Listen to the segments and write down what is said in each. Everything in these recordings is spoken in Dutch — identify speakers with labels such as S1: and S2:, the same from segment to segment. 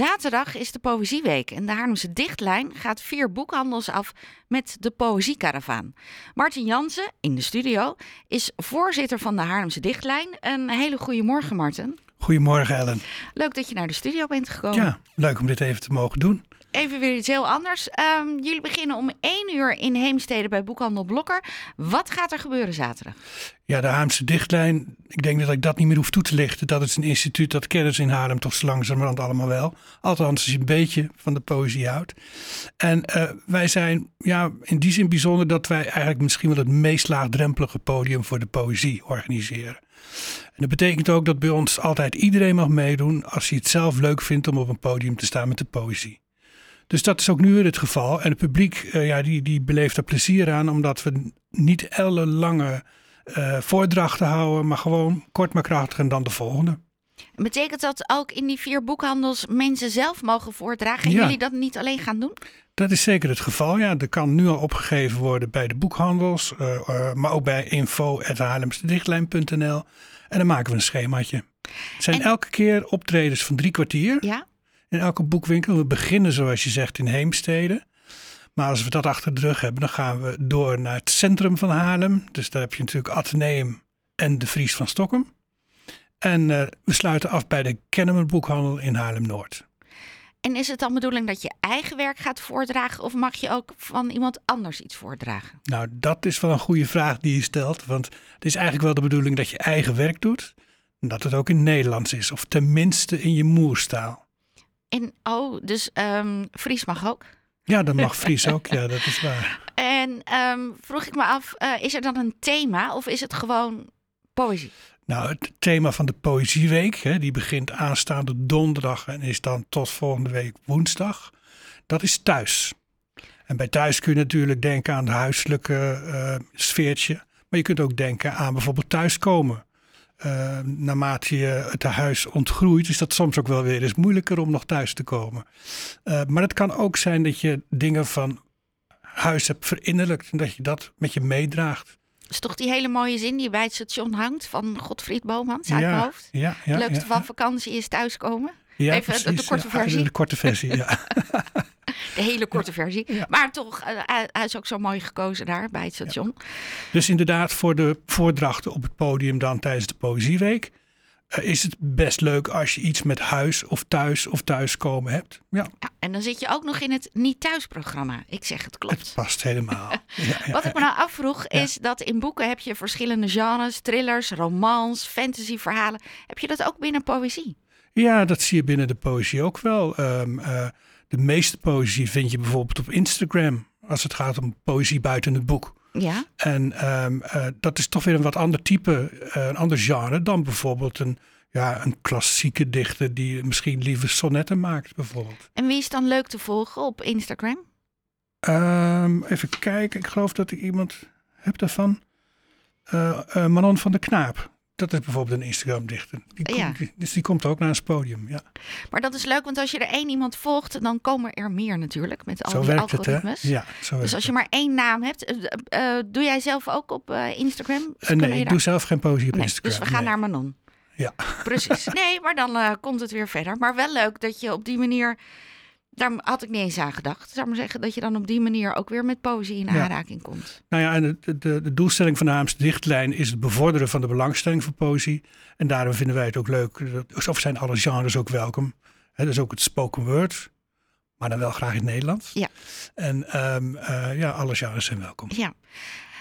S1: Zaterdag is de Poëzieweek en de Haarlemse Dichtlijn gaat vier boekhandels af met de Poëziekaravaan. Martin Jansen, in de studio, is voorzitter van de Haarlemse Dichtlijn. Een hele goede morgen, Martin.
S2: Goedemorgen, Ellen.
S1: Leuk dat je naar de studio bent gekomen.
S2: Ja, leuk om dit even te mogen doen.
S1: Even weer iets heel anders. Ehm, jullie beginnen om 1 uur in Heemstede bij Boekhandel Blokker. Wat gaat er gebeuren zaterdag?
S2: Ja, de Haarlemse Dichtlijn, ik denk dat ik dat niet meer hoef toe te lichten. Dat is een instituut dat kennis in Haarlem toch zo langzamerhand allemaal wel. Althans, als je een beetje van de poëzie houdt. En eh, wij zijn ja, in die zin bijzonder dat wij eigenlijk misschien wel het meest laagdrempelige podium voor de poëzie organiseren. En dat betekent ook dat bij ons altijd iedereen mag meedoen als hij het zelf leuk vindt om op een podium te staan met de poëzie. Dus dat is ook nu weer het geval. En het publiek eh, ja, die, die beleeft er plezier aan, omdat we niet ellenlange eh, voordrachten houden, maar gewoon kort maar krachtig en dan de volgende.
S1: Betekent dat ook in die vier boekhandels mensen zelf mogen voordragen en
S2: Ja.
S1: jullie dat niet alleen gaan doen?
S2: Dat is zeker het geval. Ja, er kan nu al opgegeven worden bij de boekhandels, eh, eh, maar ook bij info.haarlemsdichtlijn.nl. En dan maken we een schemaatje. Het zijn
S1: En-
S2: elke keer optredens van drie kwartier.
S1: Ja.
S2: in elke boekwinkel. We beginnen, zoals je zegt, in Heemstede. Maar als we dat achter de rug hebben, dan gaan we door naar het centrum van Haarlem. Dus daar heb je natuurlijk Atheneum en de Vries van Stockholm. En eh, we sluiten af bij de Kennemer Boekhandel in Haarlem-Noord.
S1: En is het dan bedoeling dat je eigen werk gaat voordragen of mag je ook van iemand anders iets voordragen?
S2: Nou, dat is wel een goede vraag die je stelt. Want het is eigenlijk wel de bedoeling dat je eigen werk doet. En dat het ook in Nederlands is. Of tenminste in je moerstaal.
S1: En oh, dus ehm, Fries mag ook.
S2: Ja, dat mag Fries ook. Ja, dat is waar.
S1: En ehm, vroeg ik me af, eh, is er dan een thema of is het gewoon poëzie?
S2: Nou, het thema van de Poëzieweek, hè, die begint aanstaande donderdag en is dan tot volgende week woensdag, dat is thuis. En bij thuis kun je natuurlijk denken aan het huiselijke eh, sfeertje, maar je kunt ook denken aan bijvoorbeeld thuiskomen. Eh, naarmate je het huis ontgroeit, is dat soms ook wel weer eens moeilijker om nog thuis te komen. Eh, maar het kan ook zijn dat je dingen van huis hebt verinnerlijkt en dat je dat met je meedraagt.
S1: Dat is toch die hele mooie zin die bij het station hangt van Godfried Bomans uit
S2: ja,
S1: mijn hoofd?
S2: Ja, ja,
S1: Het leukste
S2: ja.
S1: van vakantie is thuiskomen.
S2: Ja,
S1: Even de- de korte
S2: ja.
S1: versie.
S2: De korte versie, ja.
S1: De hele korte versie.
S2: Ja.
S1: Maar toch, eh, hij- hij is ook zo mooi gekozen daar bij het station.
S2: Dus inderdaad, voor de voordrachten op het podium dan tijdens de Poëzieweek... eh, is het best leuk als je iets met huis of thuis of thuiskomen hebt. Ja,
S1: Ja, en dan zit je ook nog in het niet thuis programma. Ik zeg het
S2: het
S1: klopt.
S2: past helemaal. ja, ja.
S1: Wat ik me nou afvroeg is dat in boeken heb je verschillende genres, thrillers, romans, fantasyverhalen. Heb je dat ook binnen poëzie?
S2: Ja, dat zie je binnen de poëzie ook wel. Ehm, eh, de meeste poëzie vind je bijvoorbeeld op Instagram... als het gaat om poëzie buiten het boek.
S1: Ja.
S2: En ehm, eh, dat is toch weer een wat ander type, eh, een ander genre dan bijvoorbeeld een, ja, een klassieke dichter die misschien liever sonnetten maakt, bijvoorbeeld.
S1: En wie is dan leuk te volgen op Instagram?
S2: Ehm, even kijken, ik geloof dat ik iemand heb daarvan. Eh, eh, Manon van der Knaap. Dat is bijvoorbeeld een Instagram-dichter. Die, kom-
S1: Ja.
S2: die- dus die komt ook naar ons podium. Ja.
S1: Maar dat is leuk, want als je er één iemand volgt, dan komen er meer natuurlijk met al
S2: Zo
S1: die
S2: werkt het, hè?
S1: algoritmes.
S2: Ja, zo werkt
S1: Dus als je
S2: het.
S1: maar één naam hebt, eh, eh, eh, doe jij zelf ook op eh, Instagram? Dus
S2: Eh,
S1: kunnen
S2: nee,
S1: je
S2: ik
S1: daar-
S2: doe zelf geen poëzie op
S1: Nee,
S2: Instagram.
S1: Dus we gaan
S2: nee.
S1: naar Manon.
S2: Ja.
S1: Precies. Nee, maar dan eh, komt het weer verder. Maar wel leuk dat je op die manier. Daar had ik niet eens aan gedacht. Zou maar zeggen dat je dan op die manier ook weer met poëzie in
S2: Ja.
S1: aanraking komt.
S2: Nou ja, en de, de, de doelstelling van de Haamse Dichtlijn is het bevorderen van de belangstelling voor poëzie. En daarom vinden wij het ook leuk, dat- of zijn alle genres ook welkom. Hè, dus ook het spoken word, maar dan wel graag in het Nederlands.
S1: Ja.
S2: En ehm, eh, ja, alle genres zijn welkom.
S1: Ja.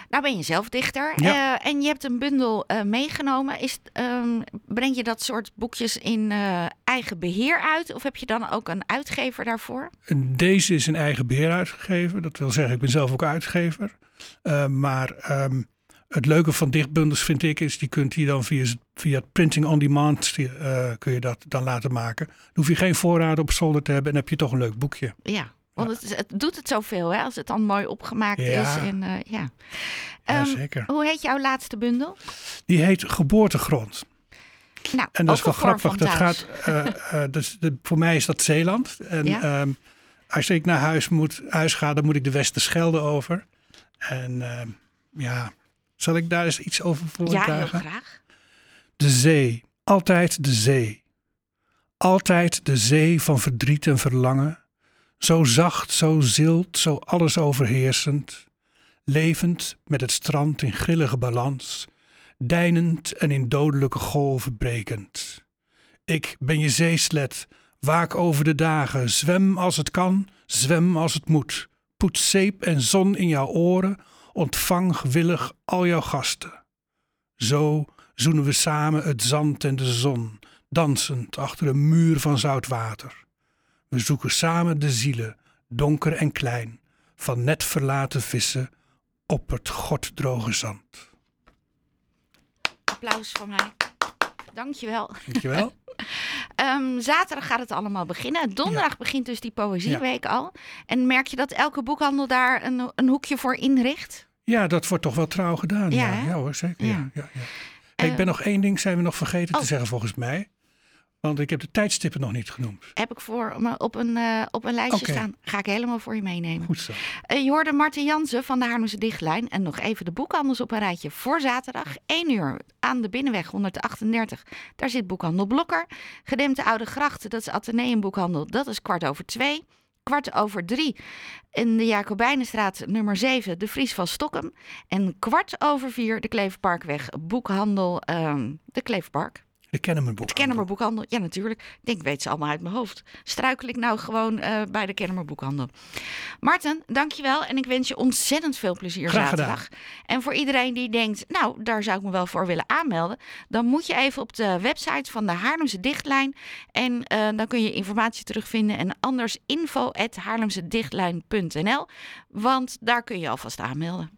S1: Nou ben je zelf dichter
S2: Ja.
S1: eh, en je hebt een bundel eh, meegenomen. Is, ehm, breng je dat soort boekjes in eh, eigen beheer uit? Of heb je dan ook een uitgever daarvoor?
S2: En Deze is in eigen beheer uitgegeven. Dat wil zeggen, ik ben zelf ook uitgever. Eh, maar ehm, het leuke van dichtbundels vind ik is, je kunt die dan via, via het printing on demand eh, kun je dat dan laten maken. Dan hoef je geen voorraden op zolder te hebben en heb je toch een leuk boekje.
S1: Ja, want Het, is- het doet het zoveel hè, als het dan mooi opgemaakt
S2: Ja.
S1: is. En, eh, ja.
S2: Ja,
S1: Ehm,
S2: zeker.
S1: Hoe heet jouw laatste bundel?
S2: Die heet Geboortegrond.
S1: Nou,
S2: En dat
S1: ook
S2: is wel
S1: een vorm
S2: grappig.
S1: van
S2: Dat
S1: thuis.
S2: gaat, eh, eh, dus de- voor mij is dat Zeeland. En
S1: Ja.
S2: ehm, als ik naar huis, moet, huis ga, dan moet ik de Westerschelde over. En ehm, ja, zal ik daar eens iets over
S1: Ja, heel
S2: voordragen?
S1: graag.
S2: De zee, altijd de zee. Altijd de zee van verdriet en verlangen, zo zacht, zo zilt, zo alles overheersend, levend met het strand in grillige balans, deinend en in dodelijke golven brekend. Ik ben je zeeslet, waak over de dagen, zwem als het kan, zwem als het moet. Poet zeep en zon in jouw oren, ontvang gewillig al jouw gasten. Zo zoenen we samen het zand en de zon, dansend achter een muur van zout water. We zoeken samen de zielen, donker en klein, van net verlaten vissen op het goddroge zand.
S1: Applaus voor mij. Dankjewel.
S2: Dankjewel.
S1: Ehm, zaterdag gaat het allemaal beginnen. Donderdag begint dus die Poëzieweek al. En merk je dat elke boekhandel daar een, een hoekje voor inricht?
S2: Ja, dat wordt toch wel trouw gedaan.
S1: Ja,
S2: Ja, ja,
S1: hè?
S2: hoor, zeker.
S1: Ja. Eh,
S2: Ja. Ja, ja. Hey, ik ben nog één ding zijn we nog vergeten
S1: Oh.
S2: te zeggen volgens mij. Want ik heb de tijdstippen nog niet genoemd.
S1: Heb ik voor me op een, eh, op een lijstje
S2: Oké.
S1: staan. Ga ik helemaal voor je meenemen.
S2: Goed zo.
S1: Eh, je hoorde Martin Jansen van de Haarlemse Dichtlijn. En nog even de boekhandels op een rijtje voor zaterdag. 1 uur aan de Binnenweg 138. Daar zit boekhandel Blokker. Gedempte Oude Grachten, dat is Atheneumboekhandel. Dat is kwart over twee. Kwart over drie in de Jacobijnenstraat nummer 7, de Vries van Stokken. En kwart over vier de Kleverparkweg, boekhandel ehm, de Kleverpark.
S2: De Kennemerboek.
S1: Kennemer Boekhandel, ja natuurlijk. Ik denk, ik weet ze allemaal uit mijn hoofd. Struikel ik nou gewoon eh, bij de Kennemer Boekhandel. Marten, dankjewel en ik wens je ontzettend veel plezier
S2: Graag gedaan.
S1: zaterdag. En voor iedereen die denkt, nou, daar zou ik me wel voor willen aanmelden... dan moet je even op de website van de Haarlemse Dichtlijn... en eh, dan kun je informatie terugvinden. En anders info at haarlemsedichtlijn.nl, want daar kun je alvast aanmelden.